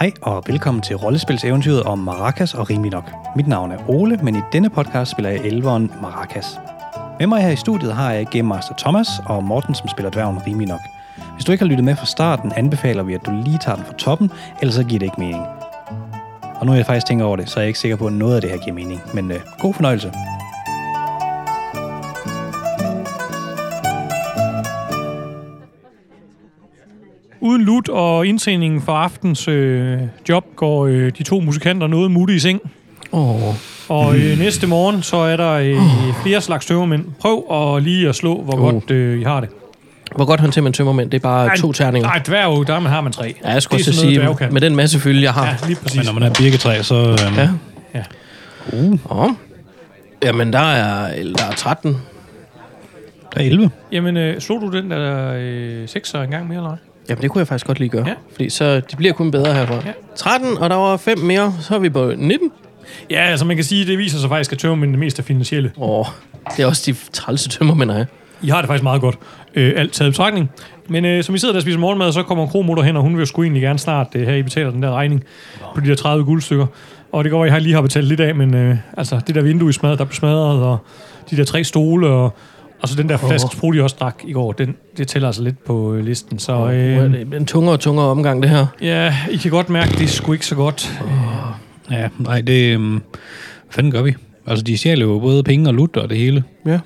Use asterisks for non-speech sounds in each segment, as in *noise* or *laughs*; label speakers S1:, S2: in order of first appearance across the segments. S1: Hej og velkommen til rollespilseventyret om Maracas og Rimelig Nok. Mit navn er Ole, men i denne podcast spiller jeg elveren Maracas. Med mig her i studiet har jeg Game Master Thomas og Morten, som spiller dværgen Rimelig Nok. Hvis du ikke har lyttet med fra starten, anbefaler vi, at du lige tager den fra toppen, ellers så giver det ikke mening. Og nu er jeg faktisk tænker over det, så er jeg ikke sikker på, at noget af det her giver mening. Men øh, god fornøjelse.
S2: Uden lut og indsendingen for aftens øh, job går øh, de to musikanter noget mutte i seng.
S3: Åh, oh,
S2: Og øh, næste morgen, så er der øh, flere slags tømmermænd. Prøv at lige at slå, hvor
S3: Uh.
S2: godt øh, I har det.
S3: hvor godt håndterer man tømmermænd. Det er bare
S2: Ej,
S3: to terninger.
S2: Nej, dværg, der har man tre.
S3: Ja, jeg skulle
S2: det
S3: også
S2: er sådan
S3: sige,
S2: noget, dværge kan.
S3: med den masse fylde, jeg har.
S2: Ja, lige præcis.
S1: Men når man er birketræ, så... Øh,
S3: Ja.
S1: ja.
S2: Ja.
S3: Åh. Jamen, der er, eller der er 13.
S1: Der er 11.
S2: Jamen, øh, slog du den der øh, sekser en gang mere, eller hvad?
S3: Jamen, det kunne jeg faktisk godt lige gøre.
S2: Ja.
S3: Fordi så, det bliver kun bedre herfra.
S2: Ja.
S3: 13, og der var 5 mere, så er vi på 19.
S2: Ja, altså man kan sige, det viser sig faktisk, at tømmermænd er det mest af finansielle.
S3: Åh, det er også de trælse tømmermænd, jeg er.
S2: I har det faktisk meget godt, øh, alt taget i betragtning. Men øh, som I sidder der og spiser morgenmad, så kommer kromutter hen, og hun vil jo sgu egentlig gerne snart øh, have, I betaler den der regning på de der 30 guldstykker. Og det går, at I har lige har betalt lidt af, men øh, altså det der vindue i smadret, der blev smadret, og de der tre stole, og, og så den der flaske sprut, I også drak i går, den, det tæller altså lidt på øh, listen. Så
S3: Nu er
S2: øh,
S3: det en tungere og tungere omgang, det her.
S2: ja, I kan godt mærke, det er sgu ikke så godt.
S1: Ja, nej, det... Øh, hvad fanden gør vi? Altså, de stjæler jo både penge og lut og det hele.
S3: Ja.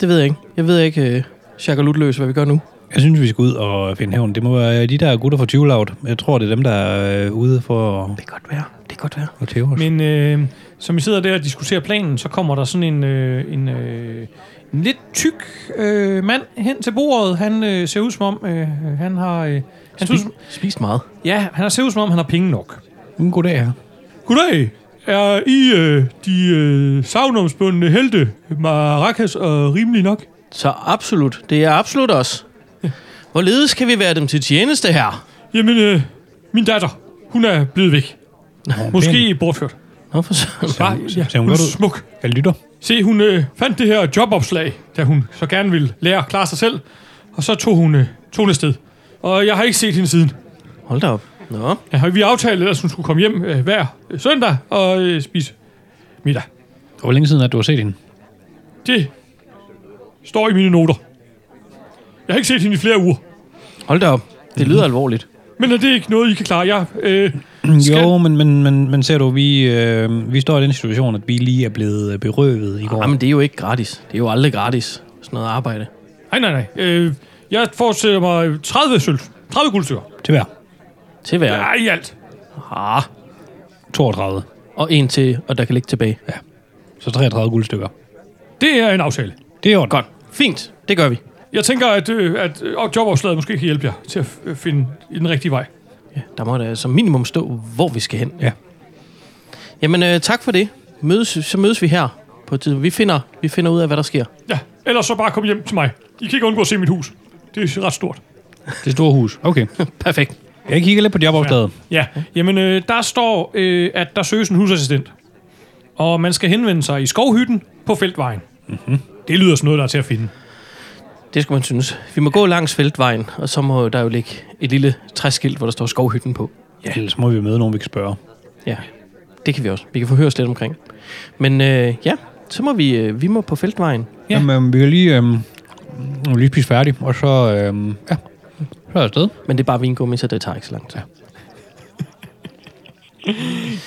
S3: Det ved jeg ikke. Jeg ved ikke, øh, Jack og Lutløs, hvad vi gør nu.
S1: Jeg synes, vi skal ud og finde hævn. Det må være de der gutter fra Tivlaut. Jeg tror, det er dem, der er øh, ude for at-
S3: Det kan godt være. Det kan godt være.
S1: at tæve os.
S2: Men øh, som I sidder der og diskuterer planen, så kommer der sådan en, øh, en, øh, en lidt tyk øh, mand hen til bordet. Han øh, ser ud som om, øh, han har... Øh, han ser ud, som,
S3: Spist meget.
S2: ja, han ser ud som om, han har penge nok.
S1: Men Mm, goddag her.
S2: Goddag! Er I øh, de øh, savnomsbundne helte, Maracas og rimelig nok?
S3: Så absolut. Det er absolut os. Hvorledes kan vi være dem til tjeneste her?
S2: Jamen, øh, min datter, hun er blevet væk. Måske bortført.
S3: Nå, for søren.
S2: Ja,
S1: ser hun
S2: er
S1: godt ud?
S2: smuk.
S1: Jeg lytter.
S2: Se, hun øh, fandt det her jobopslag, da hun så gerne ville lære at klare sig selv. Og så tog hun, øh, tog hun afsted. Og jeg har ikke set hende siden.
S3: Hold da op. Nå,
S2: Jeg har, vi aftalte, at hun skulle komme hjem øh, hver øh, søndag og øh, spise middag.
S1: Og hvor længe siden er det, du har set hende?
S2: Det står i mine noter. Jeg har ikke set hende i flere uger.
S3: hold da op. Det lyder alvorligt.
S2: Men er det ikke noget, I kan klare? Jeg, øh, skal...
S1: Mm, Jo, men, men, men, men ser du, vi, øh, vi står i den situation, at vi lige er blevet øh, berøvet i går.
S3: Jamen, det er jo ikke gratis. Det er jo aldrig gratis, sådan noget arbejde.
S2: Nej, nej, nej. Øh, jeg forestiller mig 30 sølv. 30 guldstykker.
S1: Til hver.
S3: Til hver.
S2: Ja, i alt.
S3: Ah,
S1: 32.
S3: og en til, og der kan ligge tilbage.
S1: Så 33 guldstykker.
S2: Det er en aftale.
S1: Det er godt.
S3: Fint, det gør vi.
S2: Jeg tænker, at, øh, at øh, jobopslaget måske kan hjælpe jer til at øh, finde den rigtige vej.
S3: Ja, der må da som minimum stå, hvor vi skal hen.
S1: Ja.
S3: Jamen, øh, tak for det. Mødes, så mødes vi her på et tidspunkt. Vi finder, vi finder ud af, hvad der sker.
S2: Ja, ellers så bare kom hjem til mig. I kan ikke undgå at se mit hus. Det er ret stort.
S1: Det store hus. *laughs* Okay.
S3: Perfekt.
S1: Jeg kigger lidt på jobopslaget.
S2: Ja, jamen øh, der står, øh, at der søges en husassistent. Og man skal henvende sig i skovhytten på feltvejen. Mm-hmm. Det lyder sådan noget, der er til at finde.
S3: Det skal man synes. Vi må gå langs feltvejen, og så må der jo ligge et lille træskilt, hvor der står skovhytten på.
S1: Ja. Ellers må vi møde nogen, vi kan spørge.
S3: Ja, det kan vi også. Vi kan forhøre os lidt omkring. Men øh, ja, så må vi, øh, vi må på feltvejen.
S1: Ja. Jamen, vi kan lige, øhm, vi kan lige spise færdig, og så, øhm, ja, så er jeg afsted.
S3: Men det er bare vingummi, så det tager ikke så lang tid.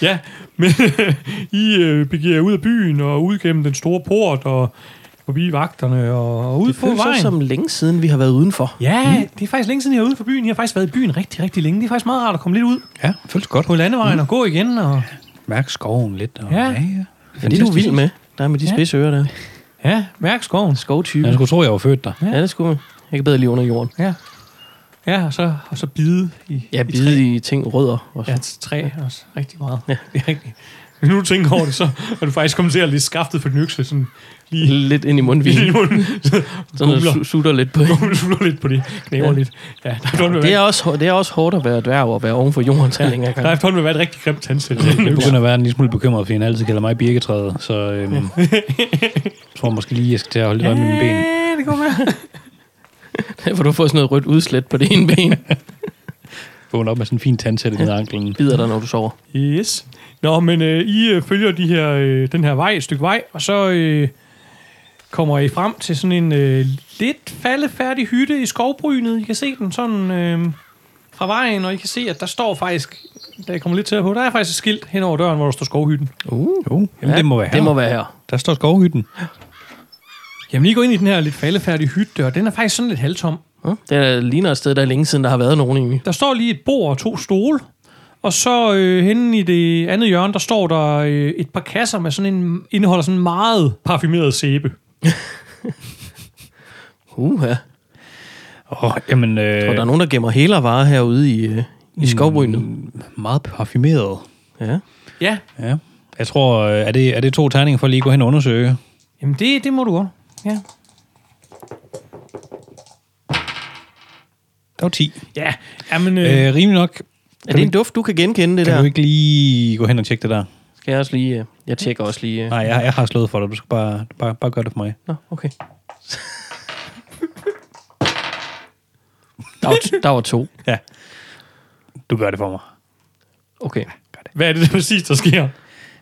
S2: Ja, *laughs* men øh, I øh, begiver jer ud af byen og ud gennem den store port og forbi vagterne og, og ud
S3: Det
S2: på
S3: føles
S2: vejen. Mm.
S3: så som længe siden, vi har været udenfor.
S2: Ja, det er faktisk længe siden, jeg er ude for byen. Jeg har faktisk været i byen rigtig, rigtig længe. Det er faktisk meget rart at komme lidt ud
S1: Ja, føles godt.
S2: på landevejen mm. og gå igen. Og,
S1: Mærk skoven lidt. Og,
S2: Ja.
S1: ja.
S3: Ja, det er du vild med. Der er med de
S2: Ja.
S3: spidse ører der.
S2: ja, mærk skoven.
S3: Skovtype.
S1: Jeg skulle tro, jeg var født *laughs* der.
S3: Ja, det skulle man. Jeg kan bedre lige under jorden.
S2: Ja. Ja, og så, og så bide i,
S3: Jeg
S2: i
S3: bide i ting rødder. Og
S2: træ. Ja, træ også rigtig meget. Ja. *laughs* Det er rigtigt. Hvis nu du tænker over det, så er du faktisk kommet til at lidt skaftet for den økse, sådan lige
S3: Lidt ind
S2: *laughs*
S3: i
S2: lige i
S3: mundvinen.
S2: munden. Så
S3: Sådan at
S2: Gumler.
S3: su- sutter
S2: *laughs*
S3: lidt på.
S2: du slutter lidt på det, knæver
S3: Ja.
S2: lidt. Ja, der er efterhånden ved at
S3: Det
S2: være-
S3: er, også, hår- det er også hårdt at være dværg og være oven for jorden til længere
S2: der er
S3: gang.
S2: efterhånden ved at være et rigtig grimt tandsæt.
S1: Jeg begynder at være en lille smule bekymret, fordi han altid kalder mig birketræet, så øhm, *laughs* jeg tror måske lige, jeg skal til at holde lidt øje med mine ben.
S2: det går med. *laughs*
S3: *laughs* For du får sådan noget rødt udslæt på det ene ben.
S1: vågner op med sådan en fin tandsæt i ja. anklen.
S3: Bider dig, når du sover.
S2: Yes. Nå, men øh, I øh, følger de her, øh, den her vej, et stykke vej, og så øh, kommer I frem til sådan en øh, lidt faldefærdig hytte i skovbrynet. I kan se den sådan øh, fra vejen, og I kan se, at der står faktisk, da jeg kommer lidt tættere på, der er faktisk et skilt hen over døren, hvor der står skovhytten.
S1: Uh, jo. Jamen, ja, det må være her.
S3: Det må være her.
S1: Der står skovhytten.
S2: Jamen, I går ind i den her lidt faldefærdige hytte, og den er faktisk sådan lidt halvtom.
S3: Ja. Det ligner et sted, der er længe siden, der har været nogen egentlig.
S2: Der står lige et bord og to stole. Og så øh, henne i det andet hjørne, der står der øh, et par kasser med sådan en, indeholder sådan en meget parfumeret sæbe.
S3: Uh, ja.
S1: Åh, jamen, øh, Mm.
S3: Og der er nogen, der gemmer hælervarer herude i, øh, i skovbrynet.
S1: meget parfumeret.
S3: Ja.
S2: Ja,
S1: Ja. Jeg tror, øh, er det, er det to terninger for at lige gå hen og undersøge?
S2: jamen det, det må du godt. Ja.
S1: Der var 10.
S2: Ja, jamen, øh,
S1: Øh, rimelig nok.
S3: Er det en duft, du kan genkende det
S1: Kan du
S3: der?
S1: ikke lige gå hen og tjekke det der?
S3: Skal jeg også lige... øh, Jeg tjekker også lige... øh.
S1: Nej, jeg, jeg har slået for dig. Du skal bare, bare, bare gøre det for mig.
S3: Nå, okay. *laughs* Der var, t- der var to.
S1: Ja. Du gør det for mig.
S3: Okay.
S2: hvad er det der præcis, der sker?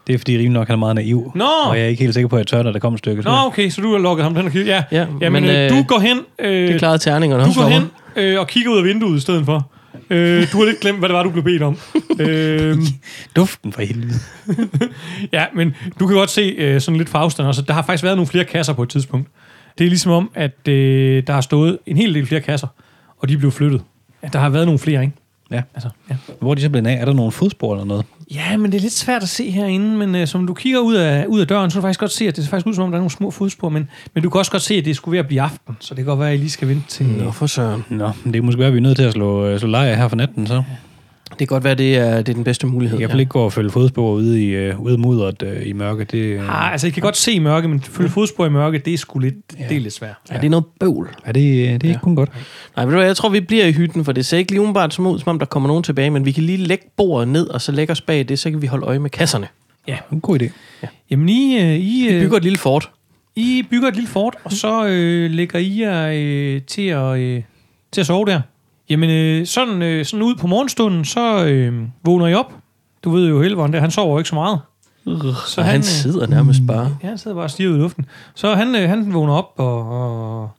S1: Det er fordi rimelig nok, han er meget naiv.
S2: Nå!
S1: Og jeg er ikke helt sikker på, at jeg tør, når det kommer et stykke.
S2: Nå, okay, så du har lukket ham den og kigget. Ja,
S3: Ja,
S2: jamen,
S3: men,
S2: men, øh,
S3: øh,
S2: du går hen, øh,
S3: Det klarede terningerne.
S2: du går hen øh, og kigger ud af vinduet i stedet for. Øh, du har lidt glemt, hvad det var, du blev bedt
S3: *laughs*
S2: om. øh,
S1: Duften for helvede.
S2: ja, men du kan godt se øh, sådan lidt farvstand også. at Der har faktisk været nogle flere kasser på et tidspunkt. Det er ligesom om, at øh, der har stået en hel del flere kasser, og de blev flyttet. Ja, der har været nogle flere, ikke?
S1: Ja.
S2: Altså, ja.
S1: Hvor er de så blevet af? Er der nogle fodspor eller noget?
S2: Ja, men det er lidt svært at se herinde, men øh, som du kigger ud af, ud af døren, så kan du faktisk godt se, at det ser faktisk ud som om, der er nogle små fodspor, men, men du kan også godt se, at det skulle være at blive aften, så det kan godt være, at I lige skal vente til...
S3: Nå, for søren.
S1: Nå, men det er måske være, at vi er nødt til at slå, øh, slå leje her for natten, så. Jeg kan
S3: Det kan godt være, det er, det er den bedste mulighed.
S1: i hvert fald ikke gå og følge fodspor ude i, øh, ude i mudderet øh, i mørke. Det, øh,
S2: Ah, altså, I kan godt se i mørke, men følge fodspor i mørke, det er sgu lidt, ja. det er lidt svært.
S3: Ja, det er noget bøvl.
S1: er det, øh, det er ikke kun godt.
S3: Nej, ved du hvad, jeg tror, vi bliver i hytten, for det ser ikke lige umiddelbart som ud, som om der kommer nogen tilbage, men vi kan lige lægge bordet ned, og så lægge os bag det, så kan vi holde øje med kasserne.
S1: En god idé.
S2: Jamen, I, øh, I,
S3: Vi
S2: øh,
S3: bygger et lille fort.
S2: I bygger et lille fort, og så øh, lægger I jer øh, til, at, øh, til at sove der. Jamen, øh, sådan, øh, sådan ud på morgenstunden, så øh, vågner I op. Du ved jo, Helveren der, han sover jo ikke så meget.
S3: Så han,
S2: han, øh,
S3: han sidder nærmest bare.
S2: Ja, han sidder bare og stiger ud i luften. Så han, øh, han vågner op og, og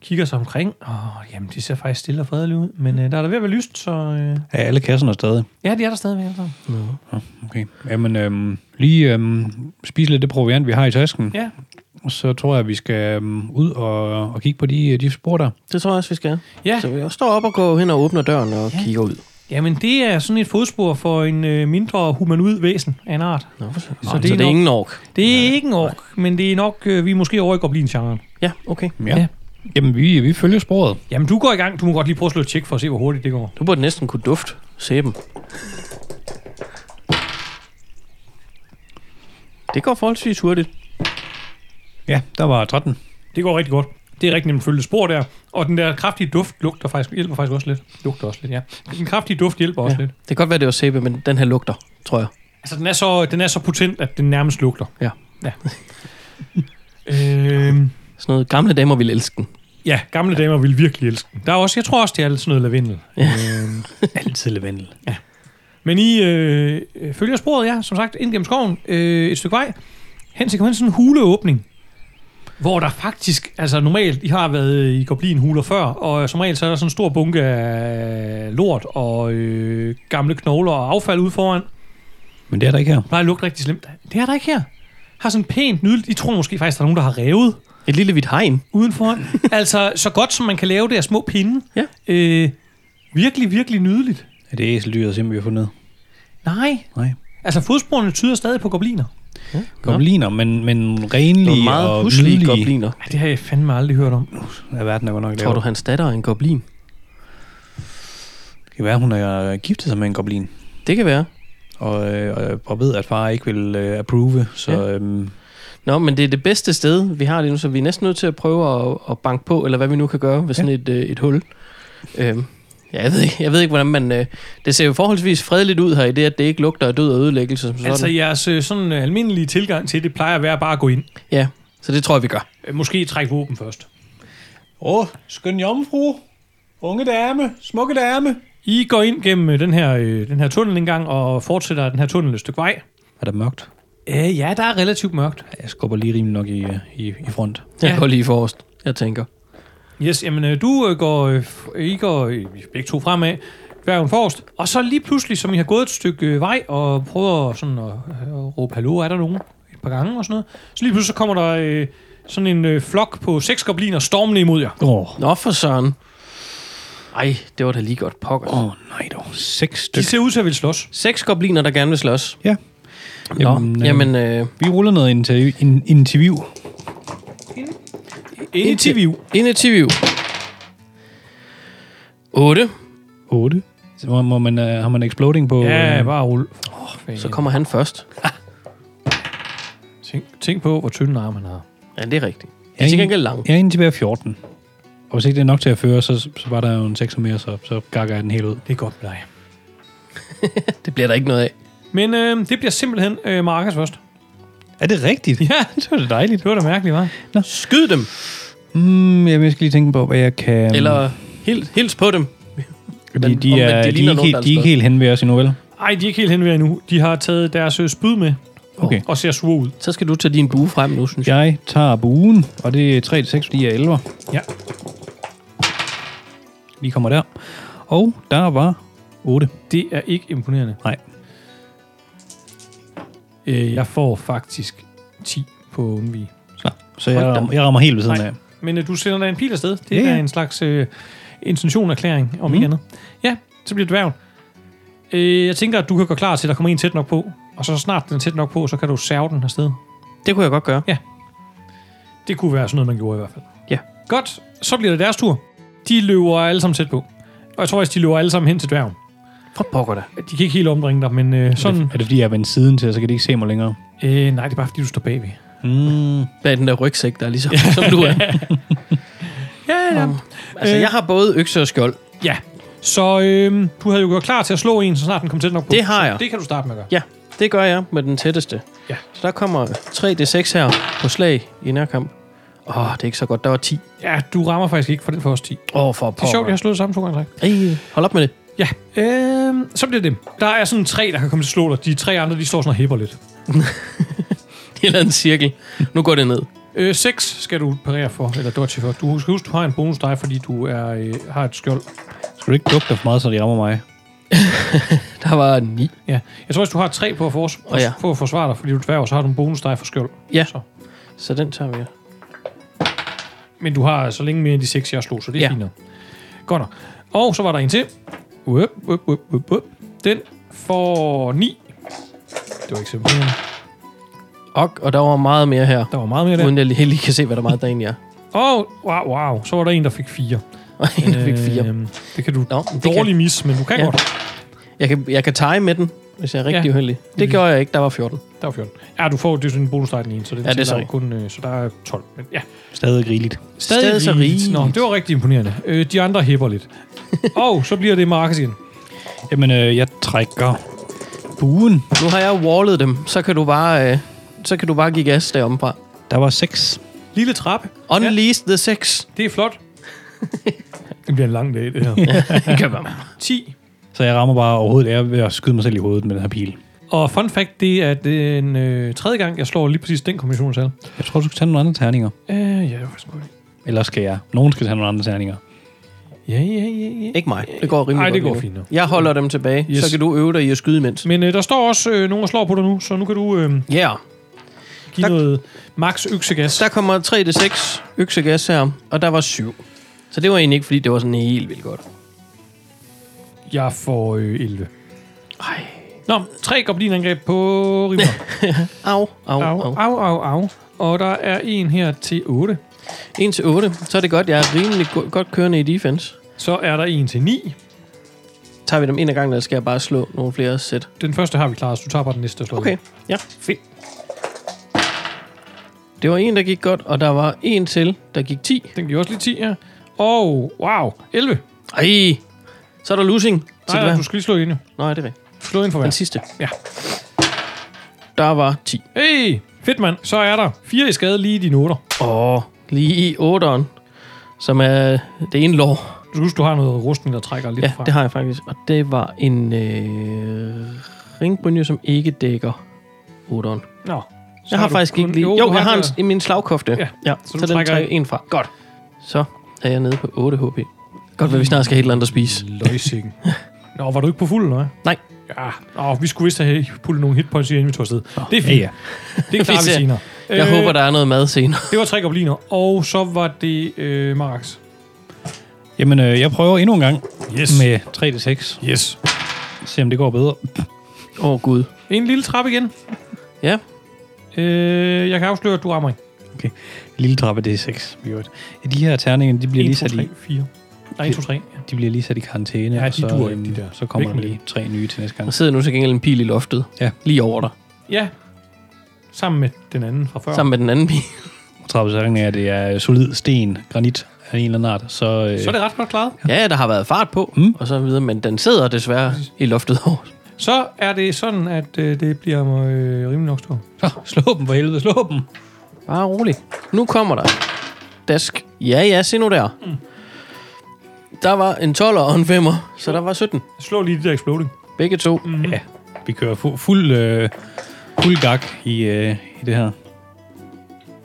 S2: kigger sig omkring, og jamen, de ser faktisk stille og fredelige ud. Men øh, der er der ved at være lyst, så øh,
S1: Er alle kasserne stadig?
S2: ja, de er der stadigvæk. alle sammen.
S1: Okay. Jamen, øhm, lige øhm, spise lidt det proviant, vi har i tasken.
S2: Ja,
S1: Så tror jeg, vi skal øhm, ud og, og kigge på de, øh, de spor der.
S3: Det tror jeg også, vi skal.
S2: ja.
S3: Så vi også står op og går hen og åbner døren og ja. kigger ud.
S2: Jamen, det er sådan et fodspor for en øh, mindre humanoid væsen af en art.
S3: Nå, for så,
S2: Så
S3: så,
S2: det
S3: det,
S2: er
S3: så det er
S2: nok-
S3: ingen ork.
S2: Det er ikke en ork, men det er nok, øh, vi er måske over i goblin-genren.
S3: Ja, okay.
S2: Ja.
S1: Jamen, vi, vi følger sporet.
S2: Jamen, du går i gang. Du må godt lige prøve at slå et tjek for at se, hvor hurtigt det går.
S3: Du burde næsten kunne dufte sæben. Det går forholdsvis hurtigt.
S1: Ja, der var 13.
S2: Det går rigtig godt. Det er rigtig nemt at følge spor der. Og den der kraftige duft lugter faktisk, hjælper faktisk også lidt. Lugter også lidt, ja. Den kraftige duft hjælper også
S3: Ja.
S2: lidt.
S3: Det kan godt være, det var sæbe, men den her lugter, tror jeg.
S2: Altså, den er så, den er så potent, at den nærmest lugter.
S3: Ja.
S2: Ja. *laughs* øhm,
S3: Sådan noget gamle damer ville elske den.
S2: ja, gamle damer vil virkelig elske den. Der er også, jeg tror også, det er lidt sådan noget lavendel. øhm,
S1: Altid lavendel.
S2: men I øh, øh, følger sporet, ja, som sagt, ind gennem skoven, øh, et stykke vej, hen til kommer sådan en huleåbning, hvor der faktisk, altså normalt, I har været øh, i goblinhuler før, og som regel, så er der sådan en stor bunke af lort og øh, gamle knogler og affald ude foran.
S1: Men det er der ikke her.
S2: plejer at lugte rigtig slemt. Det er der ikke her. Har sådan pænt nydeligt. I tror måske faktisk, der er nogen, der har revet
S3: Et lille hvidt hegn.
S2: udenfor. altså, så godt som man kan lave det af små pinde.
S3: Ja.
S2: Øh, virkelig, virkelig nydeligt.
S1: Er det æseldyret, som vi har fundet?
S2: Nej.
S1: Nej.
S2: Altså, fodsporene tyder stadig på gobliner.
S1: Gobliner, men, men renlige
S3: Nogle meget
S1: og
S3: huslige
S1: nydelige.
S3: gobliner.
S2: Ja, det har jeg fandme aldrig hørt om.
S1: Ja, verden er godt nok
S3: Tror du,
S1: lavet.
S3: hans datter er en goblin?
S1: Det kan være, hun er giftet sig med en goblin.
S3: Det kan være.
S1: Og, øh, og- og ved, at far ikke vil øh, approve, så
S3: Ja.
S1: ja. øhm,
S3: Nå, men det er det bedste sted, vi har lige nu, så vi er næsten nødt til at prøve at, at banke på, eller hvad vi nu kan gøre ved sådan ja. et, øh, et hul. Øhm, ja, jeg ved ikke, jeg ved ikke hvordan man... Øh, det ser jo forholdsvis fredeligt ud her, i det, at det ikke lugter af død og ødelæggelse som sådan.
S2: Altså,
S3: Altså,
S2: jeres øh, sådan øh, almindelige tilgang til det plejer at være bare at gå ind.
S3: ja, så det tror jeg, vi gør.
S2: Øh, Måske trække våben først.
S1: oh, Åh, skøn jomfru, unge dame, smukke dame.
S2: I går ind gennem øh, den her, øh, den her tunnel engang og fortsætter ad den her tunnel et stykke vej.
S1: Er der mørkt?
S2: Øh, ja, der er relativt mørkt.
S1: Jeg skubber lige rimelig nok i, øh, i, i front.
S3: Jeg
S2: Ja.
S3: går lige forrest, jeg tænker.
S2: Yes, jamen øh, du øh, går, øh, f- I går øh, begge to fremad, dværgen forrest, og så lige pludselig, som I har gået et stykke øh, vej og prøver sådan at øh, råbe, hallo, er der nogen? Et par gange og sådan noget. Så lige pludselig så kommer der øh, sådan en øh, flok på seks gobliner stormende imod jer.
S1: Åh,
S3: Nå for søren. Ej, det var da lige godt pokker. Oh.
S1: oh, nej dog. Seks
S2: De
S1: stykker.
S2: ser ud til at ville slås.
S3: Seks gobliner, der gerne vil slås.
S1: Ja.
S3: Nå,
S1: Jamen, øh,
S3: jamen, øh,
S1: Vi ruller noget interview. In, interview.
S2: Interview.
S3: Interview. 8.
S1: 8. Så må, må man, uh, har man exploding på...
S2: Ja,
S1: øh,
S2: bare rul.
S3: Så kommer han først.
S2: Tænk, tænk på, hvor tynde arme han har.
S3: Ja, det er rigtigt. Det er
S1: Ja, en-
S3: til gengæld lang.
S1: Jeg er indtil hver 14. Og hvis ikke det er nok til at føre, så, så var der jo en 6 mere, så, så gakker jeg den helt ud.
S2: Det er godt, nej.
S3: Det bliver der ikke noget af.
S2: Men øh, det bliver simpelthen øh, Markus først.
S1: Er det
S2: *laughs*
S1: rigtigt?
S2: Ja, det var da dejligt. Det var da mærkeligt, var.
S3: Skyd dem,
S1: Mm, jamen, jeg skal lige tænke på, hvad jeg kan...
S3: eller hils, hils på dem.
S1: Fordi
S3: men
S1: de,
S3: omvendt,
S1: er,
S3: de
S1: de,
S3: ligner
S1: er ikke,
S3: nogen, der
S1: helt-
S3: er
S1: de er ikke
S3: slået.
S1: helt hen ved os endnu, vel?
S2: Ej, de er ikke helt hen ved endnu. De har taget deres øh, spyd med
S1: Okay.
S2: og ser sure ud.
S3: Så skal du tage din bue frem nu, synes jeg.
S1: Jeg tager buen, og det er 3-6, fordi jeg er 11.
S2: Ja.
S1: Lige kommer der. Og der var 8.
S2: Det er ikke imponerende.
S1: Nej.
S2: Øh, jeg får faktisk 10 på undvige.
S1: Så jeg,
S3: Hold da.
S1: rammer- jeg rammer helt ved siden
S2: Nej.
S1: af.
S2: Men øh, du sender da en pil afsted. Det
S1: Ja, Mhm.
S2: yeah.
S1: ja.
S2: er en slags øh, intentionerklæring, om mm. ikke andet. Ja, så bliver det dværgen. Øh, jeg tænker, at du kan gå klar til, at der kommer en tæt nok på. Og så snart den er tæt nok på, så kan du serve den afsted.
S3: Det kunne jeg godt gøre.
S2: Det kunne være sådan noget, man gjorde i hvert fald.
S3: Ja.
S2: Godt, så bliver det deres tur. De løber alle sammen tæt på. Og jeg tror faktisk, de løber alle sammen hen til dværgen.
S3: For pokker da.
S2: De kan ikke helt omdringe dig, men øh,
S1: Sådan. Er,
S2: sådan...
S1: det, er det fordi, jeg er vendt siden til, så kan de ikke se mig længere?
S2: Øh, nej, det er bare, fordi du står bagved.
S1: Mm.
S3: Bag den der rygsæk, der er *laughs* ligesom, som du er.
S2: Ja, ja.
S3: Altså,
S2: Øh.
S3: jeg har både økse og skjold.
S2: Ja. Så øh, du havde jo gjort klar til at slå en, så snart den kom tæt nok på.
S3: Det har jeg.
S2: Så det kan du starte med at gøre.
S3: Ja, det gør jeg med den tætteste.
S2: Ja.
S3: Så der kommer 3d6 her på slag i nærkamp. Åh, oh, det er ikke så godt. Der var 10.
S2: Ja, du rammer faktisk ikke for den for os 10. Det
S3: Åh, oh, for pokker.
S2: er sjovt, jeg har slået samme to gange i træk.
S3: Ej, hold op med det.
S2: Ja, øh, så bliver det dem. Der er sådan tre, der kan komme til at slå dig. De tre andre, de står sådan og hæpper lidt.
S3: De har lavet en cirkel. Nu går det ned.
S2: Øh, 6 skal du parere for, eller dodge for. Du skal huske, du har en bonus dig, fordi du er, øh, har et skjold.
S1: Skal du ikke dukke dig for meget, så de rammer mig?
S3: Der var 9.
S2: Ja. Jeg tror også, du har tre på at, fors-
S3: Åh, ja.
S2: på at forsvare dig, fordi du er dværg, og så har du en bonus dig for skjold.
S3: Ja.
S2: Så.
S3: Så den tager vi.
S2: Men du har så længe mere end de seks, jeg slog, så det er ja.
S3: Ja.
S2: fint nok. Godt nok. Og så var der en til. Uop, uop, uop, uop, uop. Den får 9. Det var ikke så imponerende.
S3: Og, og der var meget mere her.
S2: Der var meget mere der.
S3: Uden jeg lige, helt lige kan se, hvad der meget der egentlig er. *laughs*
S2: Og wow, wow, så var der en, der fik 4.
S3: Og en, der fik 4.
S2: Øhm, det kan du...
S3: Nå, det
S2: Dårlig
S3: kan,
S2: mis, men du kan ja.
S3: Ja.
S2: godt.
S3: jeg, kan, jeg kan tage med den, hvis jeg er rigtig
S2: Ja. Mm.
S3: ja. uheldig. Det
S2: Lige.
S3: gjorde jeg ikke, der var 14.
S2: Der var 14. Ja, du får det er sådan en bonus dig den ene, så det,
S3: Ja, det er så
S2: tæller jo
S3: rigtigt.
S2: kun, øh, så der er 12. Men ja,
S1: Stadig rigeligt.
S3: Stadig så
S2: rigeligt.
S3: rigeligt.
S2: Nå, det var rigtig imponerende. Øh, de andre hæpper
S3: *laughs*
S2: lidt. og så bliver det Marcus igen.
S1: Jamen, øh, jeg trækker buen.
S3: Nu har jeg wallet dem, så kan du bare, øh, så kan du bare give gas deromme fra.
S1: Der var 6.
S2: Lille trappe.
S3: Unleash the sex.
S2: Det er flot. *laughs* det bliver en lang dag, *laughs* det her.
S3: Det kan være.
S2: *laughs* 10.
S1: Så jeg rammer bare overhovedet af ved at skyde mig selv i hovedet med den her pil.
S2: Og fun fact, det er den øh, tredje gang, jeg slår lige præcis den kombinationstal.
S1: Jeg tror, du skal tage nogle andre terninger.
S2: Øh, ja, det var faktisk godt.
S1: Eller skal jeg? Nogen skal tage nogle andre terninger.
S2: Ja, ja, ja, ja.
S3: Ikke mig. Det går rimelig
S2: Ej,
S3: godt.
S2: det går
S3: lige
S2: fint nu.
S3: Jeg holder dem tilbage,
S2: Yes.
S3: yes. så kan du øve dig i at skyde imens.
S2: Men øh, der står også øh, nogen, der slår på dig nu, så nu kan du øh,
S3: Ja, yeah.
S2: give
S3: Der-
S2: noget max øksegas.
S3: der kommer 3D6 øksegas her, og der var 7. Så det var egentlig ikke, fordi det var sådan helt vildt godt.
S2: Jeg får øh, 11.
S3: Ej.
S2: Nå, tre goblineangreb på Rimmer.
S3: Au, au,
S2: *laughs* au,
S3: au.
S2: au, au, au. Og der er en her til 8.
S3: 1 til 8, så er det godt. Jeg er rimelig go- godt kørende i defense.
S2: Så er der en til 9.
S3: Tager vi dem en ad gangen, eller skal jeg bare slå nogle flere sæt?
S2: Den første har vi klaret, så du tager bare den næste og slår
S3: Okay,
S2: den.
S3: ja.
S2: Fedt.
S3: Det var en, der gik godt, og der var en til, der gik 10.
S2: Den giver også lige 10 her. Og wow, 11.
S3: Ej, så er der losing. Til
S2: Nej,
S3: hver.
S2: nej, du skal lige slå ind jo.
S3: Nej, det er rigtigt.
S2: Slå ind for
S3: Den
S2: hver.
S3: sidste.
S2: Ja.
S3: Der var 10.
S2: Hey, fedt mand. Så er der fire i skade lige i dine noter.
S3: Åh, lige i 8'eren, som er det ene lår.
S2: Du skal huske, du har noget rustning, der trækker lidt
S3: ja,
S2: fra.
S3: det har jeg faktisk. Og det var en øh, ringbrynje, som ikke dækker 8'eren.
S2: Nå. Så
S3: Jeg har
S2: du
S3: faktisk
S2: kun-
S3: ikke lige... Jo,
S2: du
S3: jeg har en,
S2: det.
S3: i min slagkofte.
S2: Ja,
S3: ja
S2: så
S3: så,
S2: du
S3: så den
S2: trækker
S3: trækker en fra. Godt. Så er jeg nede på 8 HP. Godt, hvad vi snart skal have et eller andet at spise.
S2: Løgsing. Nå, var du ikke på fuld, eller hvad?
S3: Nej.
S2: Ja, Nå, vi skulle vist have pullet nogle hitpoints i, inden vi tog afsted. Det er
S1: Ja,
S2: fint.
S1: ja.
S2: Det klarer vi
S3: ser.
S2: senere.
S3: Jeg øh, håber, der er noget mad senere.
S2: Det var tre gobliner, og så var det øh, Marax.
S1: Jamen, øh, jeg prøver endnu en gang
S2: Yes.
S1: med 3D6.
S2: Yes.
S1: Se om det går bedre.
S3: Åh, oh, Gud.
S2: En lille trappe igen.
S3: Ja.
S2: Øh, jeg kan afsløre, at du rammer en.
S1: Lille trappe, det er 6. i øvrigt. De her terninger, de bliver, lige sat i,
S2: 3, 4. Nej, 1, 2, 3.
S1: de bliver lige sat i karantæne.
S2: Ja,
S1: og
S2: de
S1: så,
S2: dur ikke,
S1: øhm,
S2: de der.
S1: Så kommer
S2: Væk
S1: der
S2: med
S1: lige tre nye til næste gang.
S3: Der sidder nu til gengæld en pil i loftet.
S1: Ja.
S3: Lige over dig.
S2: Ja. Sammen med den anden fra før.
S3: Sammen med den anden pil.
S1: Trappesætningen er, at det er solid sten, granit af en eller anden art. Så, øh,
S2: Så er det ret godt klaret.
S3: Ja, der har været fart på,
S1: Mm.
S3: mm. og så videre, men den sidder desværre i loftet over.
S2: Så er det sådan, at øh, det bliver øh, rimelig nok stor.
S1: Så, slå dem for helvede, slå dem.
S3: Bare rolig. Nu kommer der. Dask. Ja, ja, se nu der. Mm. Der var en 12'er og en 5'er, så der var 17.
S2: Slå lige det der exploding.
S3: Begge to.
S2: Mm.
S1: Ja, vi kører fu- fuld, øh, fuld gak i, øh, i det her.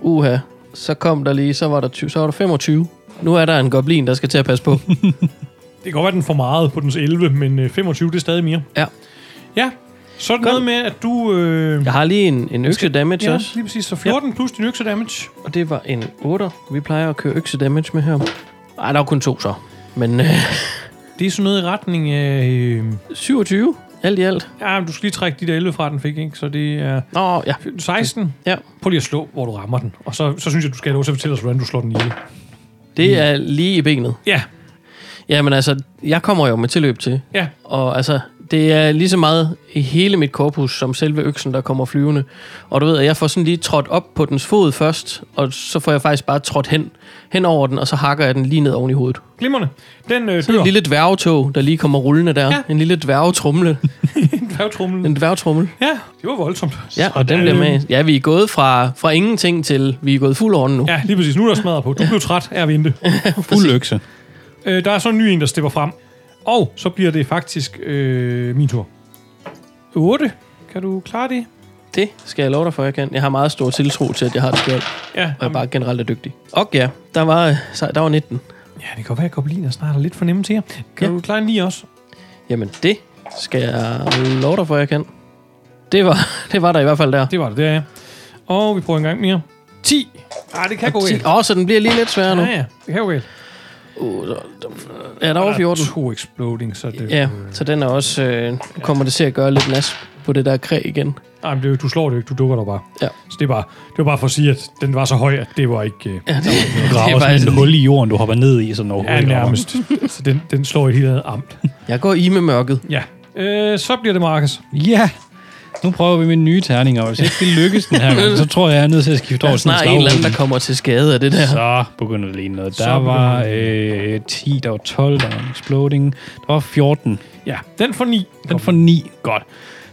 S3: Uha. Så kom der lige, så var der, 20, så var der 25. Nu er der en goblin, der skal til at passe på.
S2: Det kan godt være, at den får meget på dens 11, men øh, 25, det er stadig mere.
S3: *laughs* Ja.
S2: Ja, så er det
S3: Godt.
S2: noget med, at du... Øh,
S3: Jeg har lige en, en økse damage
S2: ja,
S3: også.
S2: lige præcis. Så 14 plus din økse damage.
S3: Og det var en 8'er. Vi plejer at køre økse damage med her. Nej, der var kun to så. Men *laughs* øh,
S2: Det er sådan noget i retning af... Øh,
S3: 27 alt i alt.
S2: ja, du skal lige trække de der 11 fra, den fik, ikke? Så det er...
S3: Nå, ja.
S2: 16.
S3: Ja.
S2: Prøv lige at slå, hvor du rammer den. Og så, så synes jeg, du skal have lov til at fortælle os, hvordan du slår den ihjel.
S3: Det er lige i benet.
S2: Ja,
S3: Jamen altså, jeg kommer jo med tilløb til.
S2: ja.
S3: Og altså, det er lige så meget i hele mit korpus, som selve øksen, der kommer flyvende. Og du ved, at jeg får sådan lige trådt op på dens fod først, og så får jeg faktisk bare trådt hen, hen over den, og så hakker jeg den lige ned oven i hovedet.
S2: Glimrende. Den øh,
S3: En
S2: dør.
S3: lille dværgetog, der lige kommer rullende der.
S2: Ja.
S3: Ja. En lille dværgetrumle.
S2: Dværgtromlen.
S3: En dværgetrummel.
S2: Ja, det var voldsomt.
S3: Ja, og den bliver med. Ja, vi er gået fra, fra ingenting til, vi er gået fuld orden nu. Ja.
S2: Ja, lige præcis. Nu er der smadret på. Du blev træt af at vente.
S3: *laughs*
S1: Fuld økse.
S2: Øh, der er så en ny en, der stepper frem. Og så bliver det faktisk øh, min tur. 8. Kan du klare det?
S3: Det skal jeg love dig for, jeg kan. Jeg har meget stor tiltro til, at jeg har det skjold,
S2: Ja,
S3: og jeg bare generelt er dygtig. Og ja, der var, øh, sej- der var 19.
S2: ja det kan godt være, at gobliner snart er lidt for nemme til jer. Kan
S3: Ja.
S2: du klare en 9 også?
S3: Jamen det skal jeg love dig for, jeg kan. Det var, *laughs* det var der i hvert fald der.
S2: Det var det, det er jeg. Og vi prøver en gang mere. 10. Ah, det kan gå galt.
S3: Åh, oh, så den bliver lige lidt sværere nu.
S2: Ja, ja, det kan gå galt.
S3: Uh, så- ja, der var 14.
S2: to exploding, så det...
S3: Ja, så den er også... Øh, nu kommer det til at gøre lidt nas på det der kræ igen.
S2: Nej, men det, er jo- du slår det jo ikke, du dukker der bare.
S3: Ja.
S2: Så det er bare, det var bare for at sige, at den var så høj, at det var ikke... Øh,
S3: Ja, det,
S1: Du graver sådan
S3: faktisk-
S1: et hul i jorden, du hopper ned i, som
S2: ja,
S1: overhovedet ikke rammer.
S2: nærmest. så den, den slår et helt andet amt.
S3: Jeg går i med mørket.
S2: Ja. Øh, så bliver det Markus.
S1: Ja, nu prøver vi med nye terninger, og hvis ikke det lykkes den her gang, så tror jeg, jeg er nødt til at skifte
S3: Der er
S1: over til en
S3: snart en eller anden,
S1: slagvåben.
S3: der kommer til skade af det der.
S1: Så begynder det lige noget. Der
S2: Så
S1: var øh, 10, der var 12, der var en exploding. Der var 14.
S2: Ja, den får 9.
S1: Den får 9. Godt.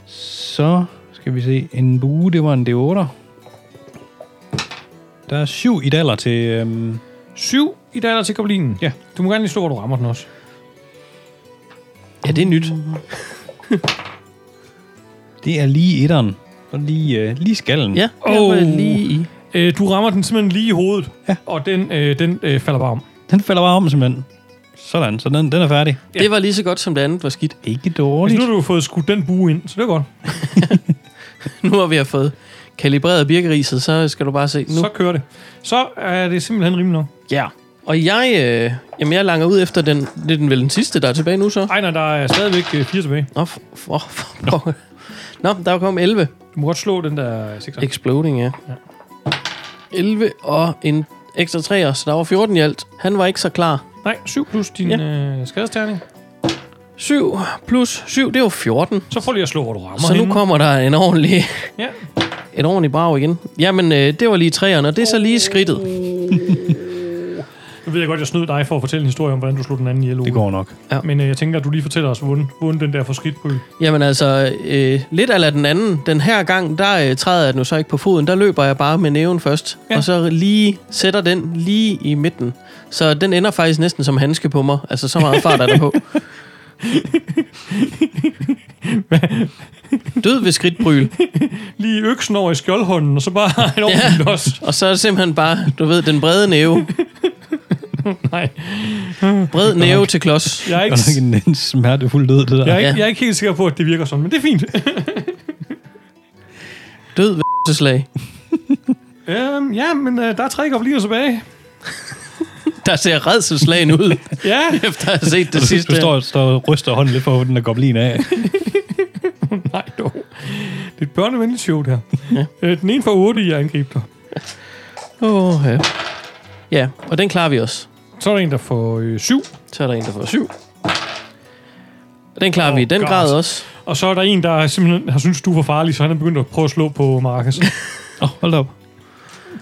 S1: Så skal vi se. En bue, det var en D8'er. Der er 7 i daller til... Øhm,
S2: 7 i daler til goblinen.
S1: Ja.
S2: Du må gerne lige slå, hvor du rammer den også.
S3: Ja, det er nyt.
S1: det er lige etteren. Og lige, øh, lige skallen.
S3: Ja, der var jeg lige i.
S2: Øh, du rammer den simpelthen lige i hovedet,
S1: Ja.
S2: og den, øh, den øh, falder bare om.
S1: Den falder bare om simpelthen. Sådan, så den, den er færdig.
S3: Det var lige så godt, som det andet var skidt. *laughs*
S1: Ikke
S2: Altså,
S1: dårligt.
S2: nu har du jo fået skudt den bue ind, så det er godt.
S3: Nu hvor vi har fået kalibreret birkeriset, så skal du bare se. Nu.
S2: Så kører det. Så er det simpelthen rimelig nok.
S3: Ja. Og jeg, øh, jamen jeg langer ud efter den, det er den vel den sidste, der er tilbage nu så.
S2: Ej, nej, der er stadigvæk øh, fire tilbage.
S3: Nå, for, for, for, for. Nå der kom 11.
S2: Du må godt slå den der 6.
S3: Exploding, ja. 11 og en ekstra 3'er, så der var 14 i alt. Han var ikke så klar.
S2: Nej, 7 plus din ja. øh, skadesterning.
S3: 7 plus 7, det var 14.
S2: Så får lige at slå, hvor du rammer
S3: Så nu
S2: henne.
S3: kommer der en ordentlig,
S2: Ja.
S3: en ordentlig brag igen. Jamen, øh, det var lige 3'eren, og det er så lige skridtet.
S2: ved jeg godt, jeg snød dig for at fortælle en historie om, hvordan du slog den anden ihjel. Ole.
S1: Det går nok.
S2: Men øh, jeg tænker, at du lige fortæller os, hvordan, hvordan den der forskridtpøl.
S3: Jamen altså, øh, lidt ala den anden. Den her gang, der øh, træder jeg den jo så ikke på foden. Der løber jeg bare med næven først.
S2: Ja.
S3: Ja. Og så lige sætter den lige i midten. Så den ender faktisk næsten som handske på mig. Altså, så meget fart er der
S1: *laughs*
S3: på. Død ved skridtbryl.
S2: Lige øksen over i skjoldhånden, og så bare *laughs* en
S3: Ja.
S2: ordentlig også.
S3: Og så er det simpelthen bare, du ved, den brede næve.
S2: Nej,
S3: Bred næve til klods.
S2: jeg er ikke,
S1: Godt nok en, en smertefuld død, det der.
S2: jeg er, ikke,
S3: Ja.
S2: jeg er ikke helt sikker på, at det virker sådan, men det er fint.
S3: Død ved til slag.
S2: øhm, ja, men øh, der er tre gobliner tilbage.
S3: Der ser redselslagen ud, *laughs*
S1: *laughs*
S2: Ja,
S3: efter at have set det
S1: Du,
S3: sidste.
S1: du står, står og ryster hånden lidt for, hvor den der goblin *laughs* af.
S2: nej dog. Det er et børnevenligt show, det her. Ja. Øh, den ene får 8 i at angribe dig.
S3: Åh, ja. ja, og den klarer vi også.
S2: Så er der en, der får øh, 7.
S3: Så er der en, der får syv. Den klarer
S2: Åh,
S3: oh, vi i den
S2: God.
S3: grad også.
S2: Og så er der en, der simpelthen har syntes, du var farlig, så han er begyndt at prøve at slå på Markus.
S1: *laughs* Åh, oh, hold da op.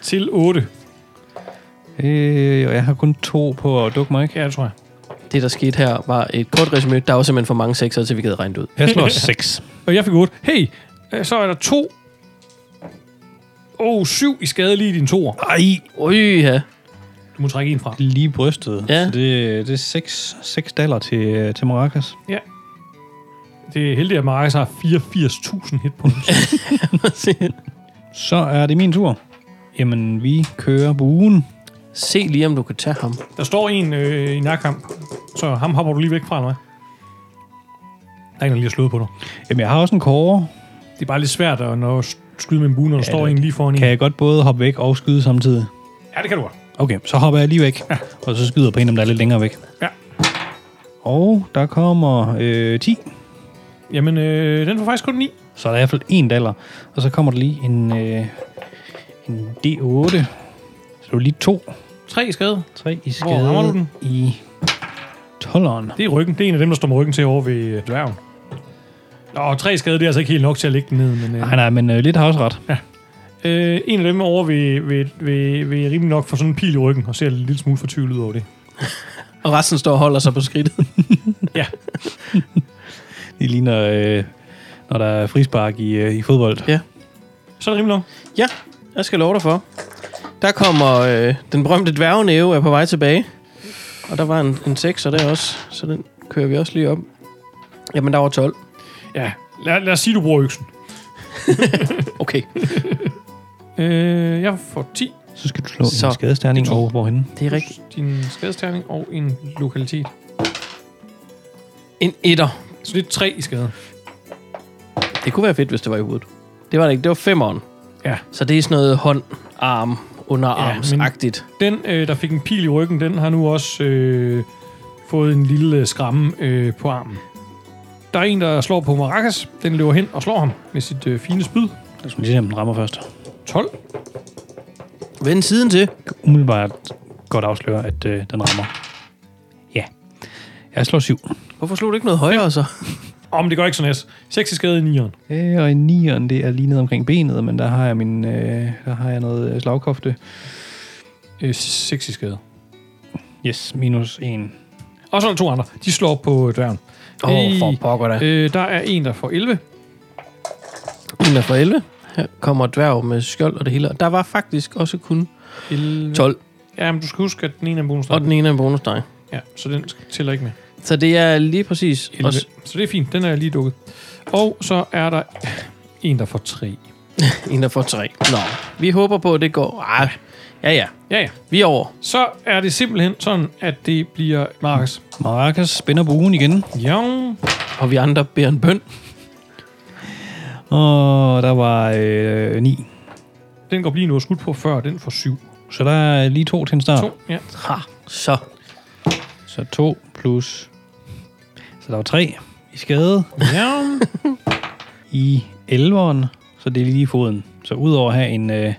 S2: Til 8.
S1: Øh, og jeg har kun to på at dukke mig, ikke?
S2: Ja, det tror jeg.
S3: Det, der skete her, var et kort resume. Der var simpelthen for mange sekser, til vi gad regne det ud.
S1: Jeg *laughs* slår seks.
S2: Og jeg fik 8. Hey, øh, så er der 2. Åh, oh, 7 i skade lige i din toer.
S1: Ej,
S3: Øj, ja.
S2: Du må trække en fra.
S1: lige brystet.
S3: Ja.
S1: Så det, det er seks, seks daller til, til Maracas.
S2: Det er heldigt, at Markus har 84.000 hitpoints.
S1: *laughs* Så er det min tur. Jamen, vi kører buen.
S3: *laughs* Se lige, om du kan tage ham.
S2: der står en øh, i nærkamp, så ham hopper du lige væk fra, eller hvad? Der er en, der lige har slået på dig.
S1: Jamen, jeg har også en kåre.
S2: Det er bare lidt svært at når skyde med en bue, når der
S1: Ja,
S2: står
S1: det-
S2: en lige foran en.
S1: Kan jeg godt både hoppe væk og skyde samtidig?
S2: Ja, det kan du godt.
S1: Okay, så hopper jeg lige væk, ja. og så skyder jeg på en, om der er lidt længere væk.
S2: Ja.
S1: Og der kommer øh, 10,
S2: Jamen, øh, den får faktisk kun 9.
S1: så er der i hvert fald en daller. Og så kommer der lige en, øh, en D8. Så det er lige to.
S2: 3 i skade.
S1: 3 i skade.
S2: Hvor rammer du den?
S1: I 12'eren.
S2: Det er ryggen. Det er en af dem, der står med ryggen til over ved øh, dværgen. Nå, 3 skade, det er altså ikke helt nok til at lægge den ned, men... Øh,
S1: Nej, nej, men øh, lidt har også ret.
S2: øh, en af dem over ved, ved, ved, ved rimelig nok får sådan en pil i ryggen, og ser en lille smule fortvivlet ud over det.
S3: Og resten står og holder sig på *laughs* skridtet.
S1: Det ligner, øh, når der er frispark i, øh, i fodbold.
S2: Så er det rimelig nok.
S3: Ja, jeg skal love dig for. Der kommer øh, den berømte dværgenæve er på vej tilbage. Og der var en, en sekser der også, så den kører vi også lige op. Jamen, der var 12.
S2: Ja, lad, lad os sige, du bruger øksen.
S3: Okay.
S2: Øh, jeg får 10
S1: Så skal du slå så.
S3: Så.
S1: en skadesterning over hvorhenne.
S3: Det er rigtigt.
S2: plus din skadesterning og en lokalitet.
S3: En etter.
S2: Så det er 3 i skade.
S3: Det kunne være fedt, hvis det var i hovedet. Det var det ikke. Det var femeren.
S2: Ja.
S3: Så det er sådan noget hånd, arm, underarmsagtigt.
S2: Den, øh, der fik en pil i ryggen, den har nu også øh, fået en lille øh, skramme øh, på armen. Der er en, der slår på Maracas. Den løber hen og slår ham med sit øh, fine spyd.
S1: Jeg skal lige se, om den rammer først.
S2: 12.
S3: Ja. Vend siden til.
S1: Umiddelbart godt afsløre, at øh, den rammer. Ja. Jeg slår 7.
S3: Hvorfor slog du ikke noget højere så?
S2: Om det går ikke så næst. 6 i skade i 9'eren.
S1: Øh, og i nieren, det er lige ned omkring benet, men der har jeg, min, øh, der har jeg noget øh, slagkofte.
S2: Øh, 6 i skade.
S1: Yes, minus 1.
S2: Og så er der to andre. De slår på øh, døren.
S3: Åh,
S2: Hey.
S3: oh, for pokker da.
S2: Øh, der er en, der får 11.
S3: En er fra 11. Her kommer dværg med skjold og det hele. Og Der var faktisk også kun
S2: 11.
S3: 12.
S2: Ja, men du skal huske, at den ene er en bonus.
S3: Og den ene er en bonusdrej.
S2: Ja, så den tæller ikke med.
S3: Så det er lige præcis
S2: 11.
S3: også...
S2: Så det er fint. Den er lige dukket. Og så er der en, der får 3.
S3: En, der får tre. Nå, vi håber på, at det går... Ah. Ja, ja.
S2: Ja, ja.
S3: Vi er over.
S2: Så er det simpelthen sådan, at det bliver Markus.
S1: Maracas spænder buen igen,
S2: Ja.
S3: Og vi andre beder en bøn.
S1: og der var øh, 9.
S2: Den går lige nu skudt på før, den får 7.
S1: Så der er lige to til en start.
S2: 2. Ja.
S3: Ha, så.
S1: Så 2 plus... Så der var 3 i skade
S2: ja.
S1: i 11'eren, så det er lige i foden. Så udover at have en øh,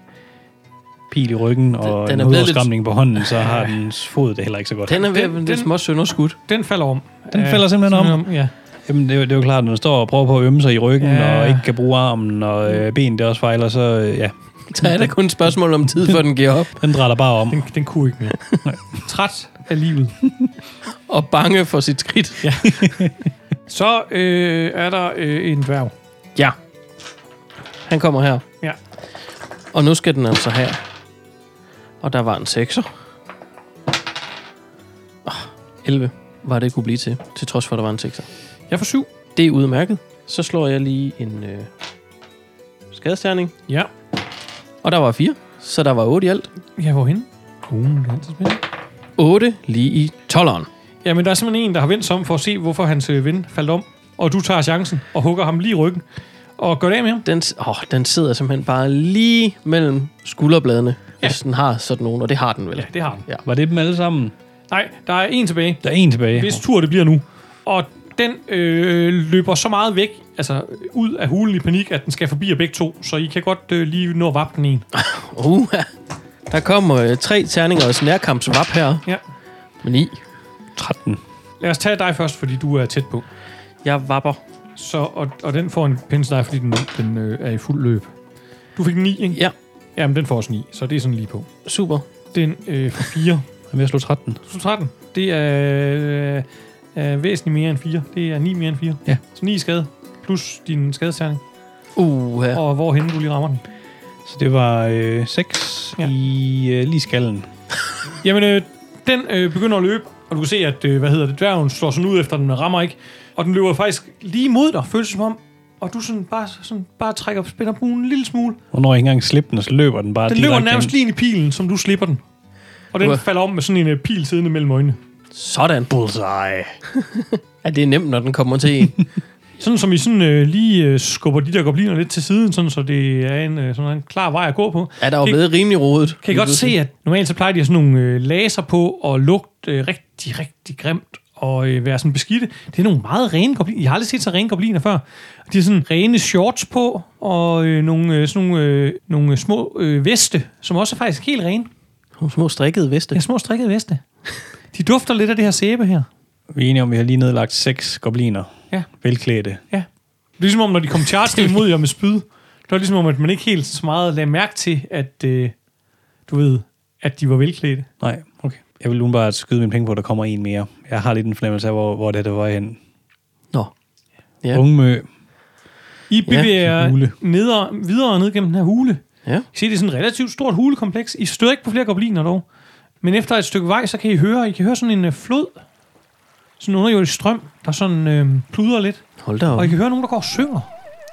S1: pil i ryggen og
S3: den
S1: den,
S3: er
S1: den en
S3: blevet lidt-
S1: hovedafskramning på hånden, så har dens fod det heller ikke så godt.
S3: Den er ved at
S2: Den-
S3: blive
S2: den-
S3: små sønderskudt.
S2: Den falder om.
S1: Den
S2: Ja,
S1: falder simpelthen om.
S2: Ja.
S1: Jamen, det er, jo- det er jo klart, når du står og prøver på at ømme sig i ryggen,
S2: Ja.
S1: ja. og ikke kan bruge armen, og øh, benet der også fejler, så øh, ja.
S3: Så er der kun et spørgsmål om tid, før den giver op.
S1: Den drejer bare om.
S2: Den, den kunne
S1: *laughs*
S2: ikke mere. Træt af livet.
S3: Og bange for sit skridt.
S2: Så øh, er der øh, en dværg.
S3: Ja. Han kommer her.
S2: Ja.
S3: Og nu skal den altså her. Og der var en sekser. Oh, 11 var det kunne blive til, til trods for, at der var en sekser.
S2: Jeg får syv.
S3: Det er udmærket. Så slår jeg lige en øh, skadesterning.
S2: Ja.
S3: Og der var 4, så der var 8 i alt.
S2: Ja, hvorhen? Uh, det er altid spændende.
S3: 8 lige i 12'eren.
S2: Jamen, der er simpelthen en, der har vendt sig om for at se, hvorfor hans øh, ven faldt om. Og du tager chancen og hugger ham lige i ryggen. Og gør det af med ham.
S3: Den, s- åh, den sidder simpelthen bare lige mellem skulderbladene, ja. hvis den har sådan nogen, og det har den vel.
S2: Ja, det har han.
S1: Var det dem alle sammen?
S2: Nej, der er en tilbage.
S1: Der er en tilbage.
S2: Hvis tur det bliver nu. Og den øh, løber så meget væk, altså øh, ud af hulen i panik, at den skal forbi jer begge to. Så I kan godt øh, lige nå at vappe den en.
S3: Uh, der kommer øh, tre terninger og nærkampsvap her.
S2: Ja.
S3: Men i,
S1: 13.
S2: Lad os tage dig først, fordi du er tæt på.
S3: jeg vapper.
S2: Så, og, og den får en pindsnej, fordi den, den øh, er i fuld løb. Du fik 9, ikke?
S3: Ja,
S2: Jamen, den får også 9, så det er sådan lige på.
S3: super.
S2: Den øh, får 4.
S1: Han vil slå 13.
S2: Så 13. Det er, øh, er væsentligt mere end 4. Det er 9 mere end 4.
S1: Ja.
S2: Så 9 skade, plus din skadesterning.
S3: Uh,
S2: Ja. Og hvorhen du lige rammer den.
S1: Så det var øh, 6
S2: Ja.
S1: ja. i øh, lige skallen.
S2: Jamen, øh, den øh, begynder at løbe, og du kan se, at øh, hvad hedder det, dværgen slår sådan ud efter den, men rammer ikke. Og den løber faktisk lige mod dig, føles det som om. Og du sådan bare, sådan bare trækker spænder buen en lille smule.
S1: Og når jeg ikke engang slipper den, og så løber den bare
S2: Den løber
S1: direkte
S2: nærmest
S1: ind.
S2: lige ind i pilen, som du slipper den. Og den
S3: Uah.
S2: falder om med sådan en øh, pil siddende mellem øjnene.
S3: sådan.
S1: Bullseye.
S3: *laughs* Ja, det er nemt, når den kommer til
S2: *laughs*
S3: en.
S2: Sådan som I sådan, øh, lige øh, skubber de der gobliner lidt til siden, sådan, så det er en, øh, sådan en klar vej at gå på.
S3: Er der jo
S2: Kan-
S3: blevet rimelig rodet.
S2: Kan I godt se, at normalt så plejer de at have sådan nogle øh, laser på og lugte øh, rigtig, rigtig grimt og øh, være sådan beskidte. Det er nogle meget rene gobliner. Jeg har aldrig set så rene gobliner før. De har sådan rene shorts på og øh, nogle, øh, sådan nogle, øh, nogle øh, små øh, veste, som også er faktisk helt rene.
S3: Nogle små strikkede veste.
S2: Ja, små strikkede veste. De dufter lidt af det her sæbe her.
S1: Vi er enige om, at vi har lige nedlagt 6 gobliner.
S2: Ja.
S1: Velklædte.
S2: Ja. Det er ligesom om, når de kom chargende mod jer med spyd, det var ligesom om, at man ikke helt så meget lagde mærke til, at øh, du ved, at de var velklædte.
S1: Nej, okay. Jeg vil bare skyde mine penge på, at der kommer en mere. Jeg har lidt en fornemmelse af, hvor, hvor det der var hen.
S3: Nå. Ja.
S1: Ja. Ungmø.
S2: I
S3: Ja.
S2: bevæger ja,
S1: Hule.
S2: neder, videre ned gennem den her hule.
S3: Ja.
S2: I ser, det er sådan et relativt stort hulekompleks. I støder ikke på flere gobliner dog. Men efter et stykke vej, så kan I høre, I kan høre sådan en øh, flod. Sådan en underjordisk strøm, der sådan øh, pludrer lidt.
S3: Hold da op.
S2: Og I kan høre nogen, der går og synger.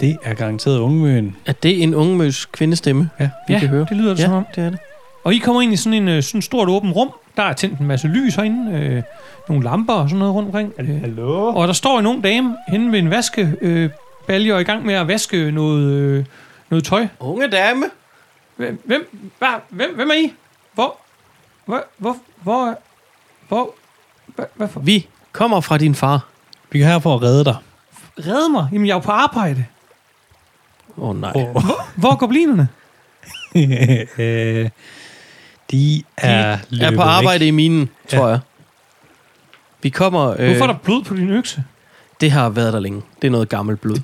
S1: Det er garanteret ungmøen.
S3: Er det en ungmøs kvindestemme,
S1: Ja.
S3: vi kan høre?
S2: det lyder det
S3: ja,
S2: som om.
S3: det er det.
S2: Og I kommer ind i sådan en øh, sådan stort åbent rum. Der er tændt en masse lys herinde. Øh, nogle lamper og sådan noget rundt omkring.
S1: Hallo?
S2: Og der står en ung dame henne ved en vaske øh, balje og er i gang med at vaske noget, øh, noget tøj.
S3: Unge dame.
S2: Hvem, hvem, hvad, hvem, hvem er I? Hvor, hvor, hvor, hvor, hvor, hvad, hvad for?
S3: Vi kommer fra din far.
S1: Vi er her for at redde dig.
S2: Red mig, jamen jeg er jo på arbejde.
S3: Åh oh, nej.
S1: Oh.
S2: Hvor, hvor er goblinerne?
S1: *laughs* øh, de er de
S3: er på arbejde i minen, tror jeg. Vi kommer... Øh,
S2: Hvorfor er der blod på din økse?
S3: Det har været der længe. Det er noget gammelt blod.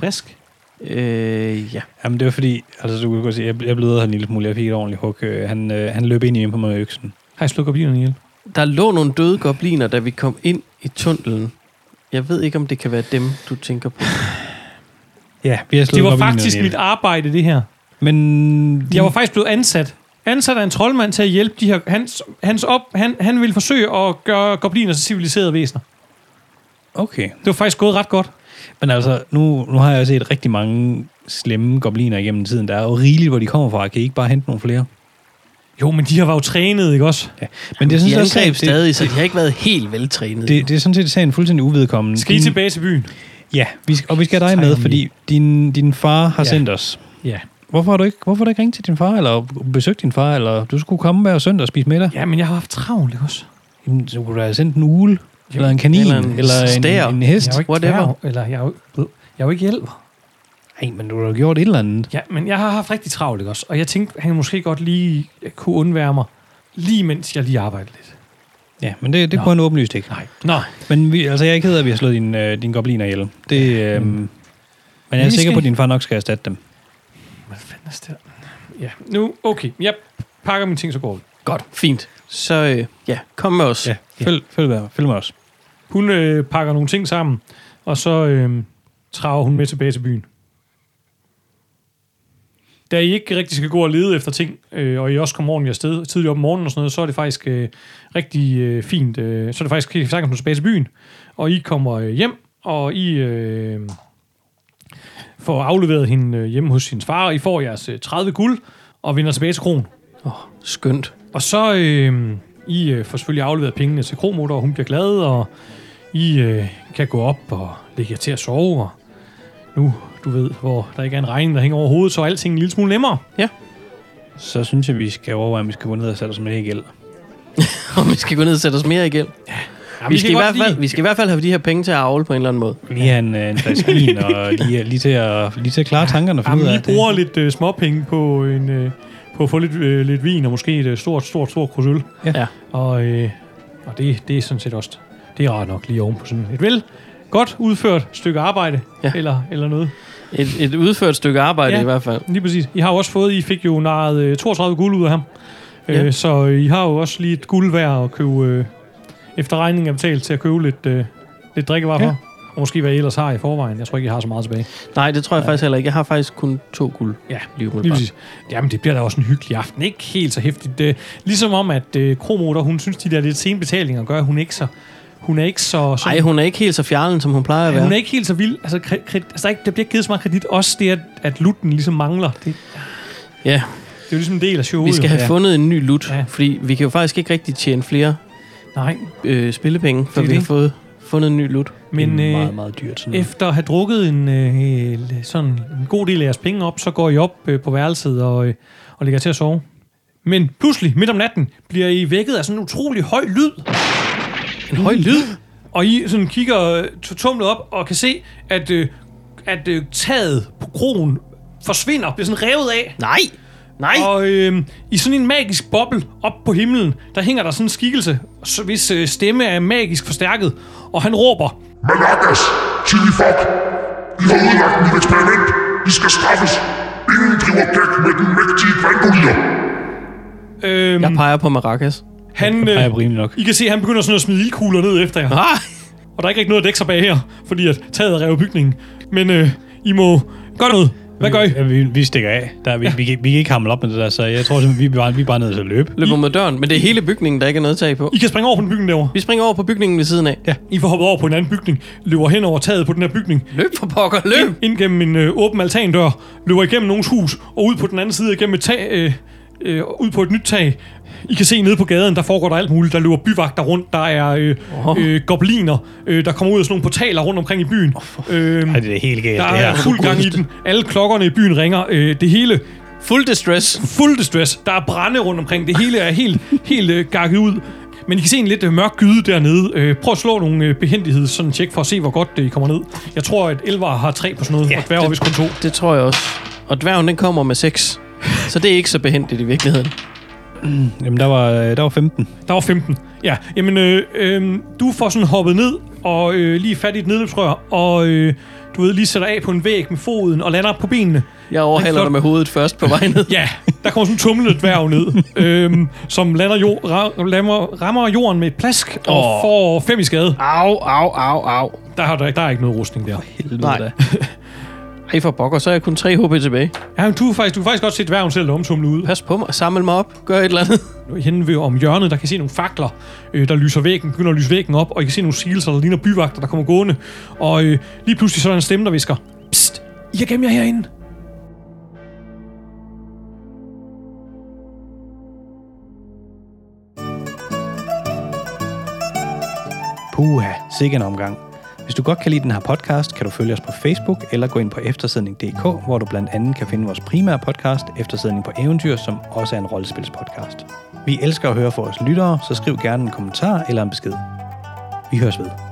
S2: Frisk.
S3: Øh, ja.
S1: Jamen, det var fordi, altså, du kan godt se, jeg, jeg blev her en lille smule. Jeg fik et ordentligt hug. Øh, Han, øh, han løb ind i mig på mig med øksen.
S2: Har I slået goblinerne ihjel?
S3: Der lå nogle døde gobliner, da vi kom ind i tunnelen. Jeg ved ikke, om det kan være dem, du tænker på.
S1: Ja, vi har slået
S2: Det var
S1: goblinen
S2: faktisk
S1: ihjel.
S2: mit arbejde, det her.
S1: Men de,
S2: Jeg var faktisk blevet ansat. Ansat af en troldmand til at hjælpe de her... Hans, hans op, han, han ville forsøge at gøre gobliner til civiliserede væsener.
S1: Okay.
S2: Det var faktisk gået ret godt.
S1: Men altså, nu, nu har jeg set rigtig mange slemme gobliner igennem tiden. Der er jo rigeligt, hvor de kommer fra. Kan I ikke bare hente nogle flere?
S2: Jo, men de her var jo trænet, ikke også?
S1: Ja. Men det er
S3: De
S1: sådan
S3: angreb
S1: set det,
S3: stadig, så de har ikke været helt veltrænede.
S1: det, det, er sådan set sagen fuldstændig uvedkommende.
S2: Skal I
S1: Din-
S2: tilbage til byen?
S1: Ja, vi skal, og vi skal have dig med, fordi din, din far har
S2: Ja.
S1: ja. sendt os.
S2: Ja.
S1: Hvorfor har, du ikke, hvorfor har du ikke ringet til din far, eller besøgt din far, eller du skulle komme hver søndag og spise middag?
S2: Ja, men jeg har haft travlt, ikke også?
S1: Jamen, så kunne du have sendt en ule, eller en kanin,
S3: eller
S1: eller
S3: en
S1: en, eller
S3: stær.
S1: en, en hest.
S2: Jeg er jo ikke
S3: whatever.
S2: dværg, eller jeg er jo, jeg er jo ikke hjælper.
S1: Nej, men du har jo gjort et eller andet.
S2: Ja, men jeg har haft rigtig travlt, ikke også? Og jeg tænkte, han måske godt lige øh, kunne undvære mig, lige mens jeg lige arbejder lidt.
S1: Ja, men det, det
S2: Nå.
S1: kunne han åbenlyst ikke.
S2: Nej. Nå,
S1: Men vi, altså, jeg er ikke ked af, at vi har slået din, øh, din gobliner ihjel. Det, øh, Men jeg er
S2: Vi
S1: sikker
S2: skal-
S1: på, at din far nok skal erstatte dem.
S2: hvad fanden er det der? Ja, nu, okay. Jeg pakker mine ting, så går vi.
S3: Godt. Fint. Så øh, ja, kom med os. Ja.
S1: Ja, følg, følg, med, følg med os.
S2: Hun øh, pakker nogle ting sammen, og så øh, traver hun med tilbage til byen. Da I ikke rigtig skal gå og lede efter ting, øh, og I også kommer ordentligt afsted tidligt op om morgenen og sådan noget, så er det faktisk øh, rigtig øh, fint. Øh, så er det faktisk helt sagtens at komme tilbage til byen, og I kommer øh, hjem, og I øh, får afleveret hende øh, hjemme hos hendes far, og I får jeres øh, 30 guld, og vender tilbage til kronen.
S3: Oh, skønt. *laughs*
S2: Og så øh, I øh, får selvfølgelig afleveret pengene til Kromotor, og hun bliver glad, og I øh, kan gå op og lægge jer til at sove. Og nu, du ved, hvor der ikke er en regning, der hænger over hovedet, så er alting en lille smule nemmere.
S1: Så synes jeg, vi skal overveje, om vi skal gå ned og sætte os med i gæld.
S3: Og vi skal gå ned og sætte os mere igen.
S2: Ja,
S3: vi, skal i hvert fald, vi skal i hvert fald have de her penge til at avle på en eller anden måde.
S1: Lige have en, øh, en flaske vin, *laughs* og lige, øh, lige, til at, lige til at klare tankerne. og finde
S2: Jamen,
S1: ud af
S2: I bruger lidt øh, småpenge på, en, øh, på at få lidt, øh, lidt vin, og måske et øh, stort, stort, stort krus øl.
S1: Ja.
S3: Ja.
S2: Og, øh, og det, det er sådan set også, det er rart nok lige oven på sådan et vel godt udført stykke arbejde,
S3: Ja.
S2: ja. eller, eller noget.
S3: Et, et udført stykke arbejde ja.
S2: Ja.
S3: i hvert fald.
S2: Lige præcis. I har jo også fået, I fik jo narret øh, 32 guld ud af ham.
S3: Ja.
S2: Ja. Øh, så I har jo også lige et guld værd at købe, øh, efter regningen er betalt, til at købe lidt, øh, lidt drikkevarer
S1: Ja.
S2: ja. for. Og måske hvad I ellers har i forvejen. Jeg tror ikke, I har så meget tilbage.
S3: Nej, det tror jeg ja. faktisk heller ikke. Jeg har faktisk kun to guld.
S2: Ja,
S3: lige
S2: Lige
S3: umiddelbart.
S2: præcis. Jamen, det bliver da også en hyggelig aften. Ikke helt så hæftigt. Øh, ligesom om, at øh, Kromotor, hun synes, de der lidt sene betalinger gør, at hun ikke så... Hun er ikke så... så
S3: Nej, hun er ikke helt så fjernen, som hun plejer at
S2: hun er
S3: være.
S2: ikke helt så vild. Altså, kred, kred, altså der, er ikke, der bliver ikke givet så meget kredit. Også det, at, at lutten ligesom mangler. Det, det
S3: Ja,
S2: er jo ligesom en del af showet.
S3: vi skal
S2: jo.
S3: have fundet en ny lut, ja.
S2: Ja.
S3: fordi vi kan jo faktisk ikke rigtig tjene flere
S2: Nej,
S3: øh, spillepenge, før
S2: Det er
S3: vi har
S2: det.
S3: fået fundet en ny lut.
S1: Men,
S2: men...
S1: det er
S2: øh,
S1: meget, meget dyrt.
S3: Mm.
S1: Sådan noget.
S2: Efter at have drukket en, øh, sådan en god del af jeres penge op, så går I op øh, på værelset og, øh, og ligger til at sove. Men pludselig, midt om natten, bliver I vækket af sådan en utrolig høj lyd.
S3: En høj lyd?
S2: Og I sådan kigger øh, t- tumlet op og kan se, at, øh, at øh, taget på krogen forsvinder, bliver sådan revet af.
S3: Nej! Nej!
S2: Og øh, i sådan en magisk boble op på himlen, der hænger der sådan en skikkelse, så- hvis øh, stemme er magisk forstærket. Og han råber,
S4: Malakas, Chili Fuck, I har ødelagt mit eksperiment. I skal straffes. Ingen driver gæk med den mægtige Grandolier.
S2: øh,
S3: Jeg peger på Maracas.
S2: han,
S1: Det er
S2: øh,
S1: rimeligt nok.
S2: I kan se, at han begynder sådan at smide ildkugler ned efter jer.
S3: Ah!
S2: Og der er ikke rigtig noget at dække sig bag her, fordi at taget rev bygningen. Men øh, I må gøre noget. Hvad gør I?
S1: Ja, vi, vi stikker af. Der, vi, ja. vi, kan- vi kan ikke hamle op med det der, så jeg tror simpelthen, vi er bare, vi er bare nødt til at løbe.
S3: Løber mod døren, men det er hele bygningen, der ikke er noget tag på.
S2: I kan springe over på den bygning derovre.
S3: Vi springer over på bygningen ved siden af. Ja.
S2: I får hoppet over på en anden bygning, løber hen over taget på den her bygning,
S3: Løb for pokker, løb!
S2: ind gennem en øh, åben altandør, løber igennem nogens hus, og ud på den anden side igennem et tag, øh, øh, ud på et nyt tag. I kan se nede på gaden, der foregår der alt muligt. Der løber byvagter rundt, der er øh, øh, gobliner, øh, der kommer ud af sådan nogle portaler rundt omkring i byen. Øh,
S1: Ej, det er helt galt,
S2: der
S1: det her.
S2: er fuld gang i den. Alle klokkerne i byen ringer. Øh, det hele
S3: Full distress.
S2: fuld distress. Der er brænde rundt omkring. Det hele er helt, helt øh, gakket ud. Men I kan se en lidt øh, mørk gyde dernede. Øh, prøv at slå nogle øh, behendigheds sådan tjek for at se, hvor godt øh, I kommer ned. Jeg tror, at Elvar har tre på sådan noget, ja, og dværger
S3: det-
S2: vist kun to.
S3: Det tror jeg også. Og dværgen, den kommer med seks. Så det er ikke så behendigt i virkeligheden.
S1: Jamen, der var, øh, der var 15.
S2: Der var 15. Ja, jamen, øh, øh, du får sådan hoppet ned, og øh, lige fat i et nedløbsrør, og øh, du ved, lige sætter af på en væg med foden og lander på benene.
S3: Jeg overhaler
S2: flot.
S3: dig med hovedet først på vej ned.
S2: Ja, der kommer sådan en tumlet dværg ned, øhm, som lander jord, ra- lammer, rammer jorden med et plask og
S3: Åh.
S2: oh. får fem i skade.
S3: *laughs* Au, au, au, au.
S2: Der, har, der, der er ikke noget rustning der.
S1: Helvede
S3: Nej.
S1: da.
S3: *laughs* Ej, for pokker, så er jeg kun 3 HP tilbage.
S2: Ja, men du, er faktisk, du kan faktisk godt se dværgen selv omtumlet ud.
S3: Pas på mig, samle mig op, gør et eller andet.
S2: Henne ved om hjørnet, der kan I se nogle fakler, øh, der lyser væggen, begynder at lyse væggen op, og I kan se nogle sigelser, der ligner byvagter, der kommer gående. Og øh, lige pludselig så er der en stemme, der visker. Psst, I kan gemme jer herinde.
S1: Puha, sikke en omgang. Hvis du godt kan lide den her podcast, kan du følge os på Facebook eller gå ind på eftersidning.dk, hvor du blandt andet kan finde vores primære podcast, Eftersidning på Eventyr, som også er en rollespilspodcast. Vi elsker at høre fra vores lyttere, så skriv gerne en kommentar eller en besked. Vi høres ved.